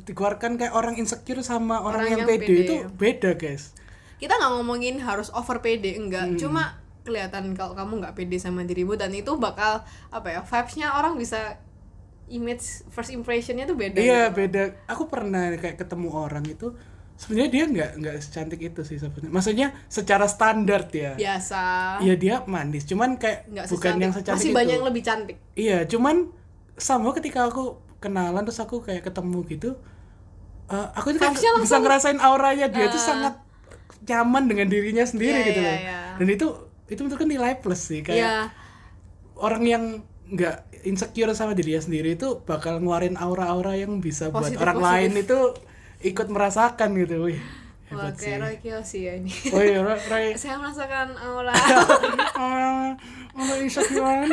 [SPEAKER 1] dikeluarkan kayak orang insecure sama orang,
[SPEAKER 2] Orang
[SPEAKER 1] yang,
[SPEAKER 2] yang
[SPEAKER 1] pede,
[SPEAKER 2] pede. iya.
[SPEAKER 1] itu beda guys
[SPEAKER 2] kita nggak ngomongin harus over pede enggak
[SPEAKER 1] Hmm.
[SPEAKER 2] cuma kelihatan kalau kamu nggak pede sama dirimu dan itu bakal apa ya vibesnya orang bisa image first impressionnya tuh beda
[SPEAKER 1] iya
[SPEAKER 2] gitu.
[SPEAKER 1] beda aku pernah kayak ketemu orang itu sebenarnya dia nggak nggak secantik itu sih sebenarnya maksudnya secara standar ya
[SPEAKER 2] biasa
[SPEAKER 1] Iya dia manis, cuman kayak
[SPEAKER 2] Ah. nggak
[SPEAKER 1] bukan
[SPEAKER 2] secantik-
[SPEAKER 1] yang secantik
[SPEAKER 2] masih
[SPEAKER 1] itu.
[SPEAKER 2] banyak yang lebih cantik
[SPEAKER 1] Iya, cuman sama ketika aku kenalan terus aku kayak ketemu gitu, eh, aku tuh kayak
[SPEAKER 2] Vibes-nya
[SPEAKER 1] bisa
[SPEAKER 2] langsung-
[SPEAKER 1] ngerasain auranya dia tuh
[SPEAKER 2] Eh.
[SPEAKER 1] sangat nyaman dengan dirinya sendiri
[SPEAKER 2] Iya,
[SPEAKER 1] gitu
[SPEAKER 2] iya,
[SPEAKER 1] loh.
[SPEAKER 2] iya.
[SPEAKER 1] Dan itu itu menurutku nilai plus sih kayak
[SPEAKER 2] ya
[SPEAKER 1] orang yang nggak insecure sama dirinya sendiri itu bakal ngeluarin aura-aura yang bisa buat
[SPEAKER 2] Positif,
[SPEAKER 1] orang
[SPEAKER 2] positif.
[SPEAKER 1] lain itu ikut merasakan gitu.
[SPEAKER 2] wah
[SPEAKER 1] Wih, hebat sih.
[SPEAKER 2] kayak Roy Kiyoshi ya ini
[SPEAKER 1] Oh iya, Roy- Roy. Oh,
[SPEAKER 2] saya merasakan aura
[SPEAKER 1] orang orang insecure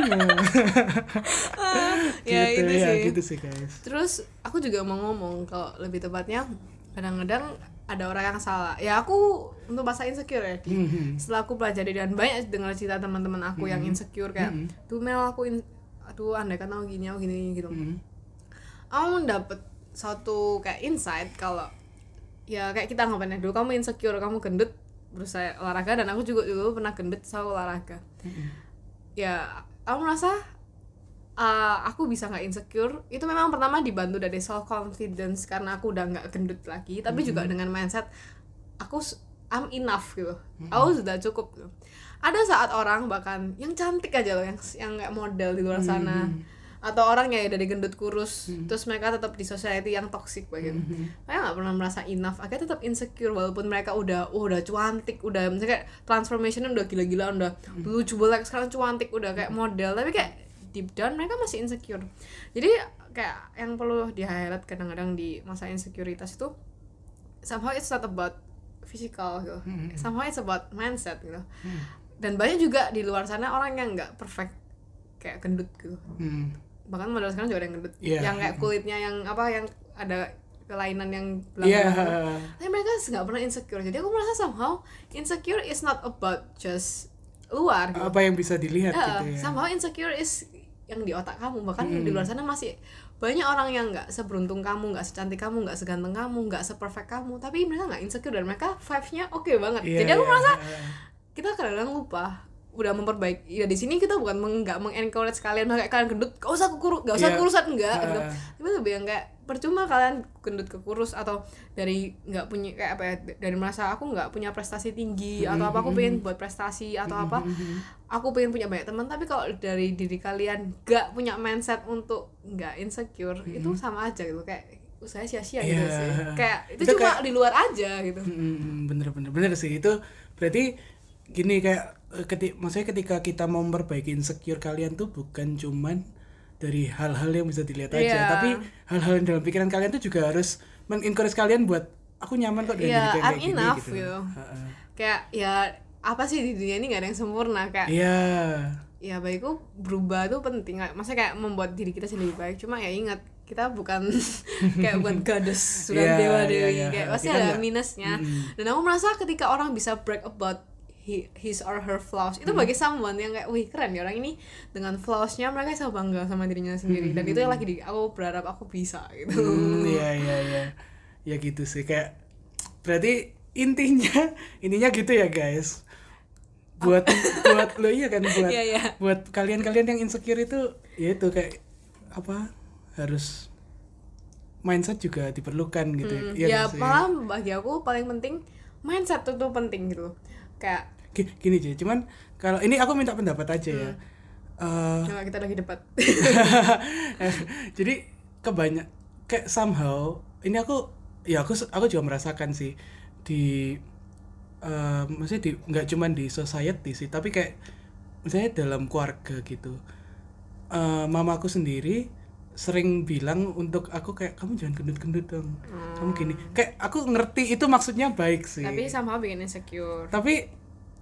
[SPEAKER 2] ya
[SPEAKER 1] gitu,
[SPEAKER 2] itu
[SPEAKER 1] ya,
[SPEAKER 2] sih
[SPEAKER 1] gitu sih guys.
[SPEAKER 2] Terus aku juga mau ngomong kalau lebih tepatnya kadang-kadang ada orang yang salah. Ya aku untuk masa insecure ya. Di.
[SPEAKER 1] Mhm.
[SPEAKER 2] Setelah aku pelajari dan banyak dengar cerita teman-teman aku yang insecure kayak, tuh Mel aku in aduh andai kan aku gini aku gini gitu.
[SPEAKER 1] Mhm.
[SPEAKER 2] Aku dapet suatu kayak insight kalau ya kayak kita anggapannya dulu kamu insecure, kamu gendut berusaha olahraga dan aku juga dulu pernah gendut soal olahraga. Ya, aku merasa eh, aku bisa nggak insecure itu memang pertama dibantu dari self confidence karena aku udah nggak gendut lagi tapi juga dengan mindset aku s- I'm enough gitu aku sudah cukup gitu. ada saat orang bahkan yang cantik aja loh yang yang nggak model di luar sana atau orang yang dari gendut kurus terus mereka tetap di society yang toxic bagian
[SPEAKER 1] Hmm.
[SPEAKER 2] mereka nggak pernah merasa enough akhirnya tetap insecure walaupun mereka udah oh, udah cuantik udah misalnya kayak transformationnya udah gila-gilaan udah dulu jebelek sekarang cuantik udah kayak model tapi kayak deep down mereka masih insecure jadi kayak yang perlu di highlight kadang-kadang di masa insecurities itu somehow it's not about physical gitu somehow it's about mindset gitu
[SPEAKER 1] hmm,
[SPEAKER 2] dan banyak juga di luar sana orang yang nggak perfect kayak gendut gitu
[SPEAKER 1] Hmm.
[SPEAKER 2] bahkan model sekarang juga ada yang gendut
[SPEAKER 1] Iya.
[SPEAKER 2] yang kayak kulitnya yang apa yang ada kelainan yang
[SPEAKER 1] Iya.
[SPEAKER 2] belang-belang. tapi mereka nggak pernah insecure jadi aku merasa somehow insecure is not about just luar gitu.
[SPEAKER 1] Apa yang bisa dilihat gitu
[SPEAKER 2] Eh,
[SPEAKER 1] ya. Hmm.
[SPEAKER 2] somehow insecure is yang di otak kamu bahkan di luar sana masih banyak orang yang nggak seberuntung kamu nggak secantik kamu nggak seganteng kamu nggak seperfect kamu tapi mereka nggak insecure dan mereka vibes-nya oke banget
[SPEAKER 1] Iya,
[SPEAKER 2] jadi aku
[SPEAKER 1] iya,
[SPEAKER 2] merasa
[SPEAKER 1] iya.
[SPEAKER 2] kita kadang-kadang lupa udah memperbaiki ya di sini kita bukan meng- nggak meng-encourage kalian "Nah, kayak kalian gendut gak usah kurus gak usah
[SPEAKER 1] Iya.
[SPEAKER 2] kurusan enggak
[SPEAKER 1] Ah.
[SPEAKER 2] gitu. tapi lebih yang kayak percuma kalian gendut ke kurus atau dari nggak punya kayak apa ya dari merasa aku nggak punya prestasi tinggi atau apa aku pengen buat prestasi atau
[SPEAKER 1] Hmm,
[SPEAKER 2] apa aku pengen punya banyak teman tapi kalau dari diri kalian nggak punya mindset untuk nggak insecure itu sama aja gitu kayak usaha sia-sia gitu
[SPEAKER 1] Iya.
[SPEAKER 2] sih kayak itu,
[SPEAKER 1] Itu
[SPEAKER 2] cuma di luar aja gitu
[SPEAKER 1] Hmm, bener bener bener sih itu berarti gini kayak eh, keti maksudnya ketika kita mau memperbaiki insecure kalian tuh bukan cuman dari hal-hal yang bisa dilihat aja
[SPEAKER 2] Iya.
[SPEAKER 1] tapi hal-hal yang dalam pikiran kalian tuh juga harus men-encourage kalian buat aku nyaman kok dengan
[SPEAKER 2] Iya,
[SPEAKER 1] diri kayak
[SPEAKER 2] I'm
[SPEAKER 1] gini,"
[SPEAKER 2] enough,
[SPEAKER 1] gitu.
[SPEAKER 2] gitu.
[SPEAKER 1] Heeh.
[SPEAKER 2] kayak ya apa sih di dunia ini nggak ada yang sempurna kayak
[SPEAKER 1] Iya.
[SPEAKER 2] ya baikku berubah tuh penting Kayak- maksudnya kayak membuat diri kita sendiri baik cuma ya ingat kita bukan kayak bukan goddess bukan
[SPEAKER 1] Iya,
[SPEAKER 2] dewa
[SPEAKER 1] iya,
[SPEAKER 2] dewi
[SPEAKER 1] iya.
[SPEAKER 2] kayak pasti
[SPEAKER 1] Kita
[SPEAKER 2] ada
[SPEAKER 1] nggak-
[SPEAKER 2] minusnya
[SPEAKER 1] Mm-mm.
[SPEAKER 2] dan aku merasa ketika orang bisa brag about hi- his or her flaws itu
[SPEAKER 1] Mm.
[SPEAKER 2] bagi someone yang kayak wih keren ya orang ini dengan flawsnya mereka bisa bangga sama dirinya sendiri dan itu yang lagi di aku berharap aku bisa gitu
[SPEAKER 1] Hmm, iya iya iya. Ya gitu sih kayak berarti intinya intinya gitu ya guys. Buat buat lo iya kan buat
[SPEAKER 2] Oh. Iya, iya.
[SPEAKER 1] buat kalian-kalian yang insecure itu ya itu kayak apa harus mindset juga diperlukan gitu
[SPEAKER 2] Hmm,
[SPEAKER 1] ya. Iya
[SPEAKER 2] ya
[SPEAKER 1] nggak sih?
[SPEAKER 2] malah bagi aku paling penting mindset tuh, tuh penting gitu kayak
[SPEAKER 1] Gi- Gini aja, cuman kalau ini aku minta pendapat aja ya.
[SPEAKER 2] Hmm.
[SPEAKER 1] Eh,
[SPEAKER 2] Coba kita lagi debat.
[SPEAKER 1] jadi kebanyak kayak somehow ini aku ya aku aku juga merasakan sih di eh maksudnya di nggak cuman di society sih tapi kayak misalnya dalam keluarga gitu Eh mamaku sendiri sering bilang untuk aku kayak kamu jangan gendut-gendut dong kamu gini kayak aku ngerti itu maksudnya baik sih
[SPEAKER 2] Tapi sama bikin insecure.
[SPEAKER 1] tapi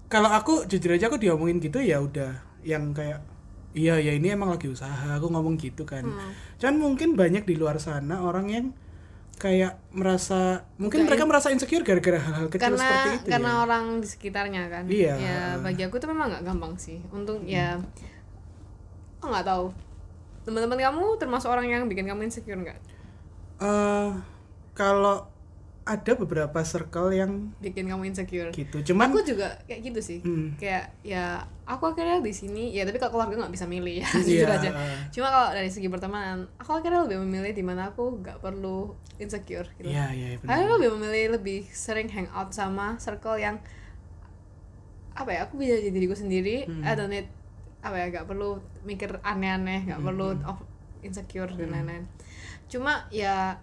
[SPEAKER 1] kalau aku jujur aja aku diomongin gitu ya udah yang kayak iya ya ini emang lagi usaha aku ngomong gitu kan
[SPEAKER 2] Hmm.
[SPEAKER 1] cuman mungkin banyak di luar sana orang yang kayak merasa mungkin mereka merasa insecure gara-gara hal-hal kecil
[SPEAKER 2] karena
[SPEAKER 1] seperti itu
[SPEAKER 2] karena
[SPEAKER 1] ya
[SPEAKER 2] orang di sekitarnya kan.
[SPEAKER 1] Iya. Hmm.
[SPEAKER 2] Ya bagi aku tuh memang nggak gampang sih. Untung ya aku nggak tahu. Teman-teman kamu termasuk orang yang bikin kamu insecure nggak?
[SPEAKER 1] Eh, kalau ada beberapa circle yang
[SPEAKER 2] Bikin kamu insecure.
[SPEAKER 1] gitu cuman
[SPEAKER 2] Aku juga kayak gitu sih.
[SPEAKER 1] Hmm.
[SPEAKER 2] Kayak ya aku akhirnya di sini ya tapi kalau keluarga nggak bisa milih ya jujur
[SPEAKER 1] Iya.
[SPEAKER 2] aja. Cuma kalau dari segi pertemanan, aku akhirnya lebih memilih di mana aku nggak perlu insecure gitu.
[SPEAKER 1] iya iya iya, benar
[SPEAKER 2] Aku lebih memilih lebih sering hangout sama circle yang apa ya aku bisa jadi diriku sendiri
[SPEAKER 1] Hmm.
[SPEAKER 2] I don't need apa ya gak perlu mikir aneh-aneh gak perlu
[SPEAKER 1] Hmm,
[SPEAKER 2] of- insecure dan lain-lain cuma ya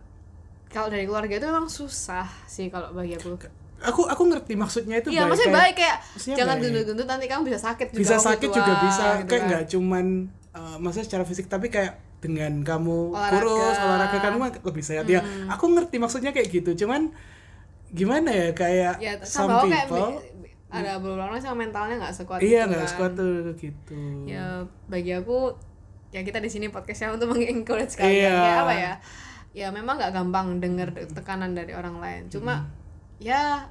[SPEAKER 2] kalau dari keluarga itu memang susah sih kalau bagi aku
[SPEAKER 1] aku aku ngerti maksudnya itu
[SPEAKER 2] iya
[SPEAKER 1] baik,
[SPEAKER 2] maksudnya
[SPEAKER 1] kayak-
[SPEAKER 2] baik kayak
[SPEAKER 1] maksudnya
[SPEAKER 2] jangan
[SPEAKER 1] baik.
[SPEAKER 2] gendut-gendut nanti kamu bisa sakit juga
[SPEAKER 1] bisa
[SPEAKER 2] waktu
[SPEAKER 1] sakit
[SPEAKER 2] tua,
[SPEAKER 1] juga bisa
[SPEAKER 2] gitu
[SPEAKER 1] kayak
[SPEAKER 2] kan.
[SPEAKER 1] nggak cuman eh, maksudnya secara fisik tapi kayak dengan kamu
[SPEAKER 2] Olahraga. Hmm.
[SPEAKER 1] kurus olahraga kamu lebih sehat ya aku ngerti maksudnya kayak gitu cuman gimana ya kayak
[SPEAKER 2] ya
[SPEAKER 1] some
[SPEAKER 2] sama kayak
[SPEAKER 1] people
[SPEAKER 2] ada beberapa orang sama mentalnya nggak sekuat
[SPEAKER 1] iya
[SPEAKER 2] itu
[SPEAKER 1] nggak
[SPEAKER 2] kan.
[SPEAKER 1] sekuat tuh gitu
[SPEAKER 2] ya bagi aku ya kita di sini podcastnya untuk mengencourage kalian
[SPEAKER 1] Iya. Hmm.
[SPEAKER 2] Kayak apa ya ya memang nggak gampang denger tekanan dari orang lain cuma ya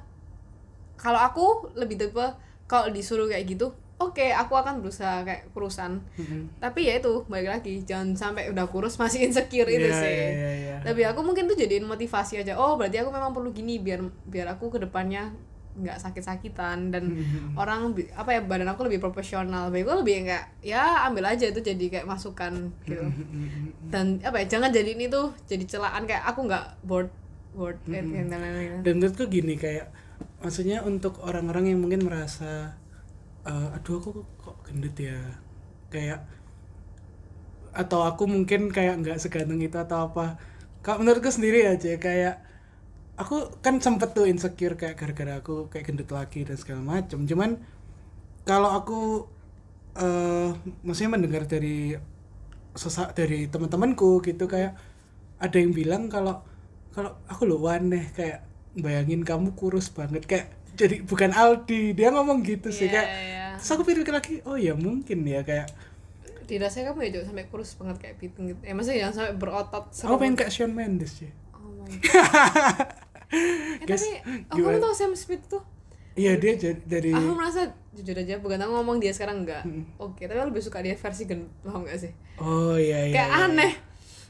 [SPEAKER 2] kalau aku lebih tipe kalau disuruh kayak gitu oke aku akan berusaha kayak kurusan
[SPEAKER 1] Mm-mm.
[SPEAKER 2] tapi ya itu balik lagi jangan sampai udah kurus masih insecure itu
[SPEAKER 1] Iya,
[SPEAKER 2] sih
[SPEAKER 1] iya, iya, iya.
[SPEAKER 2] tapi aku mungkin tuh jadiin motivasi aja oh berarti aku memang perlu gini biar biar aku kedepannya nggak sakit-sakitan dan
[SPEAKER 1] Mhm.
[SPEAKER 2] orang bi- apa ya badan aku lebih proporsional baik gue lebih enggak ya ambil aja itu jadi kayak masukan gitu dan apa ya jangan jadi ini tuh jadi celaan kayak aku nggak bored bored and- and lain-lain.
[SPEAKER 1] dan menurutku gini kayak maksudnya untuk orang-orang yang mungkin merasa eh, aduh aku kok gendut ya kayak atau aku mungkin kayak nggak seganteng itu atau apa kalau menurutku sendiri aja kayak aku kan sempet tuh insecure kayak gara-gara aku kayak gendut lagi dan segala macem cuman kalau aku eh maksudnya mendengar dari sesak dari teman-temanku gitu kayak ada yang bilang kalau kalau aku lo aneh kayak bayangin kamu kurus banget kayak jadi bukan Aldi dia ngomong gitu sih
[SPEAKER 2] Iya,
[SPEAKER 1] kayak
[SPEAKER 2] iya.
[SPEAKER 1] terus aku pikir lagi oh ya mungkin ya kayak
[SPEAKER 2] dirasanya kamu ya jangan sampai kurus banget kayak piting gitu ya maksudnya jangan sampai berotot
[SPEAKER 1] aku
[SPEAKER 2] serem.
[SPEAKER 1] pengen kayak Shawn Mendes ya
[SPEAKER 2] oh my god eh,
[SPEAKER 1] Guys,
[SPEAKER 2] tapi oh,
[SPEAKER 1] gimana?
[SPEAKER 2] kamu tau Sam Smith tuh
[SPEAKER 1] iya dia jadi dari
[SPEAKER 2] aku merasa jujur aja bukan aku ngomong dia sekarang enggak
[SPEAKER 1] Mm.
[SPEAKER 2] oke tapi aku lebih suka dia versi gendut paham gak sih
[SPEAKER 1] oh iya iya
[SPEAKER 2] kayak
[SPEAKER 1] iya.
[SPEAKER 2] aneh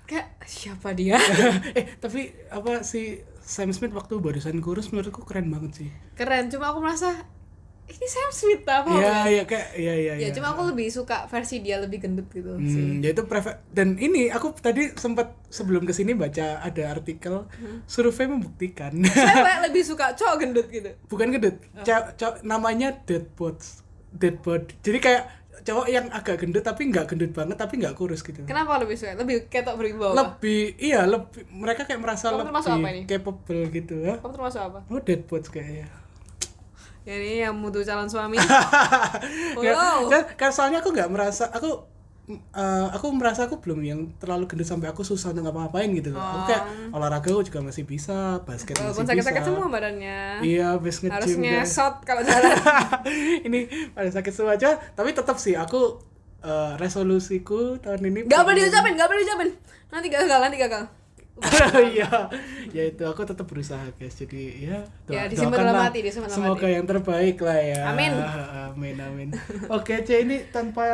[SPEAKER 2] kayak siapa dia
[SPEAKER 1] eh tapi apa si Sam Smith waktu barusan kurus menurutku keren banget sih
[SPEAKER 2] keren cuma aku merasa ini Sam Smith apa
[SPEAKER 1] iya iya kayak iya iya
[SPEAKER 2] ya
[SPEAKER 1] iya.
[SPEAKER 2] cuma aku lebih suka versi dia lebih gendut gitu sih
[SPEAKER 1] Hmm, yaitu prefer dan ini aku tadi sempat sebelum kesini baca ada artikel
[SPEAKER 2] Hmm.
[SPEAKER 1] survei membuktikan
[SPEAKER 2] cewek lebih suka cowok gendut gitu
[SPEAKER 1] bukan gendut cow- cow- namanya dead bots dead bod jadi kayak cowok yang agak gendut tapi nggak gendut banget tapi nggak kurus gitu
[SPEAKER 2] kenapa lebih suka lebih ketok beribawa
[SPEAKER 1] lebih iya lebih mereka kayak merasa
[SPEAKER 2] Kamu termasuk apa ini?
[SPEAKER 1] lebih capable gitu ya
[SPEAKER 2] kamu termasuk apa
[SPEAKER 1] oh dead bots kayaknya
[SPEAKER 2] ya ini yang butuh calon suami
[SPEAKER 1] Nggak-
[SPEAKER 2] wow
[SPEAKER 1] kan- kan soalnya aku nggak merasa aku mm, eh, aku merasa aku belum yang terlalu gendut sampai aku susah untuk ngapa-ngapain gitu loh. Aku kayak olahraga aku juga masih bisa, basket
[SPEAKER 2] Oh. walaupun
[SPEAKER 1] masih
[SPEAKER 2] sakit-sakit
[SPEAKER 1] bisa.
[SPEAKER 2] semua badannya
[SPEAKER 1] Iya, habis
[SPEAKER 2] harus
[SPEAKER 1] nge-gym guys.
[SPEAKER 2] ngesot kalau jalan
[SPEAKER 1] ini pada sakit semua aja, tapi tetap sih aku eh, resolusiku tahun ini
[SPEAKER 2] nggak boleh diucapin nggak boleh diucapin nanti gagal nanti gagal
[SPEAKER 1] Iya, ya itu aku tetap berusaha guys. Jadi ya,
[SPEAKER 2] Ya, disimpan dalam
[SPEAKER 1] doakanlah.
[SPEAKER 2] hati, disimpan dalam
[SPEAKER 1] Semoga yang terbaik lah ya.
[SPEAKER 2] Amin.
[SPEAKER 1] Amin amin. Oke, C ini tanpa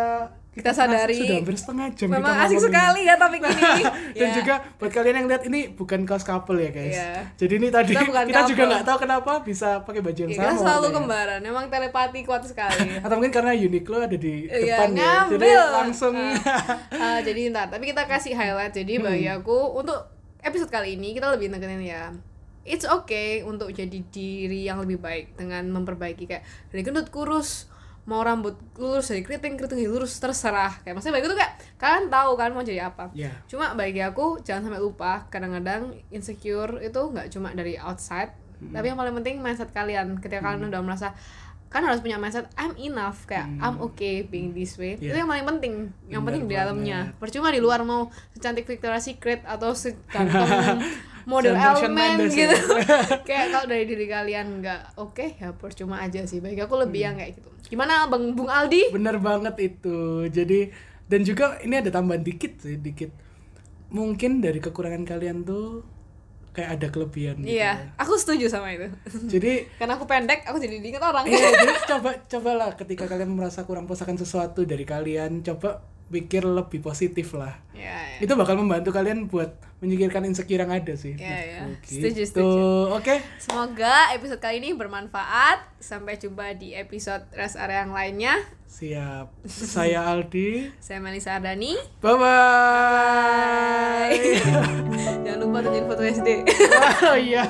[SPEAKER 2] Kita sadari,
[SPEAKER 1] sudah hampir setengah jam kita
[SPEAKER 2] memang asik
[SPEAKER 1] ngomongin.
[SPEAKER 2] sekali ya topik ini
[SPEAKER 1] Dan
[SPEAKER 2] Ya.
[SPEAKER 1] juga buat kalian yang lihat ini bukan kaos couple ya guys.
[SPEAKER 2] Iya.
[SPEAKER 1] Jadi ini tadi
[SPEAKER 2] Kita
[SPEAKER 1] kita,
[SPEAKER 2] bukan
[SPEAKER 1] juga
[SPEAKER 2] couple.
[SPEAKER 1] nggak tahu kenapa bisa pakai baju yang
[SPEAKER 2] Ya,
[SPEAKER 1] sama.
[SPEAKER 2] kita selalu
[SPEAKER 1] katanya.
[SPEAKER 2] kembaran, memang telepati kuat sekali.
[SPEAKER 1] Atau mungkin karena Uniqlo ada di
[SPEAKER 2] Iya,
[SPEAKER 1] depan ya. Jadi
[SPEAKER 2] ngambil.
[SPEAKER 1] langsung Hmm.
[SPEAKER 2] Ah, jadi ntar, tapi kita kasih highlight. Jadi bagi aku untuk episode kali ini kita lebih nekenin ya. It's okay untuk jadi diri yang lebih baik dengan memperbaiki kayak dari gendut kurus, mau rambut lurus dari keriting keriting jadi lurus terserah. Kayak maksudnya bagi aku tuh kayak kalian tahu kan mau jadi apa.
[SPEAKER 1] ya.
[SPEAKER 2] Cuma bagi aku jangan sampai lupa kadang-kadang insecure itu nggak cuma dari outside,
[SPEAKER 1] Hmm.
[SPEAKER 2] tapi yang paling penting mindset kalian. Ketika kalian udah merasa kan harus punya mindset I'm enough kayak I'm okay being this way. Itu
[SPEAKER 1] Hmm. Yeah.
[SPEAKER 2] yang paling penting. Yang
[SPEAKER 1] Benar
[SPEAKER 2] penting di dalamnya.
[SPEAKER 1] banget.
[SPEAKER 2] Percuma di luar mau secantik Victoria's Secret atau seganteng model
[SPEAKER 1] Sean
[SPEAKER 2] elemen
[SPEAKER 1] Mendes ya.
[SPEAKER 2] gitu. kayak kalau dari diri kalian nggak oke ya percuma aja sih. Bagi aku
[SPEAKER 1] Hmm.
[SPEAKER 2] lebih yang kayak gitu. Gimana Bang Bung Aldi?
[SPEAKER 1] Bener banget itu. Jadi dan juga ini ada tambahan dikit sih, dikit. Mungkin dari kekurangan kalian tuh kayak ada kelebihan gitu. ya.
[SPEAKER 2] Iya, aku setuju sama itu.
[SPEAKER 1] Jadi
[SPEAKER 2] Karena aku pendek, aku jadi diinget orang.
[SPEAKER 1] iya, jadi coba cobalah ketika kalian merasa kurang puas akan sesuatu dari kalian, coba pikir lebih positif lah.
[SPEAKER 2] Iya, iya.
[SPEAKER 1] Itu bakal membantu kalian buat menyingkirkan insecure yang ada sih.
[SPEAKER 2] Iya, iya.
[SPEAKER 1] menurutku.
[SPEAKER 2] Setuju,
[SPEAKER 1] Gitu. Oke.
[SPEAKER 2] Semoga episode kali ini bermanfaat. Sampai jumpa di episode rest area yang lainnya.
[SPEAKER 1] Siap. Saya Aldi.
[SPEAKER 2] Saya Melisa Ardani.
[SPEAKER 1] Bye bye.
[SPEAKER 2] Jangan lupa tunjukin foto SD.
[SPEAKER 1] oh iya.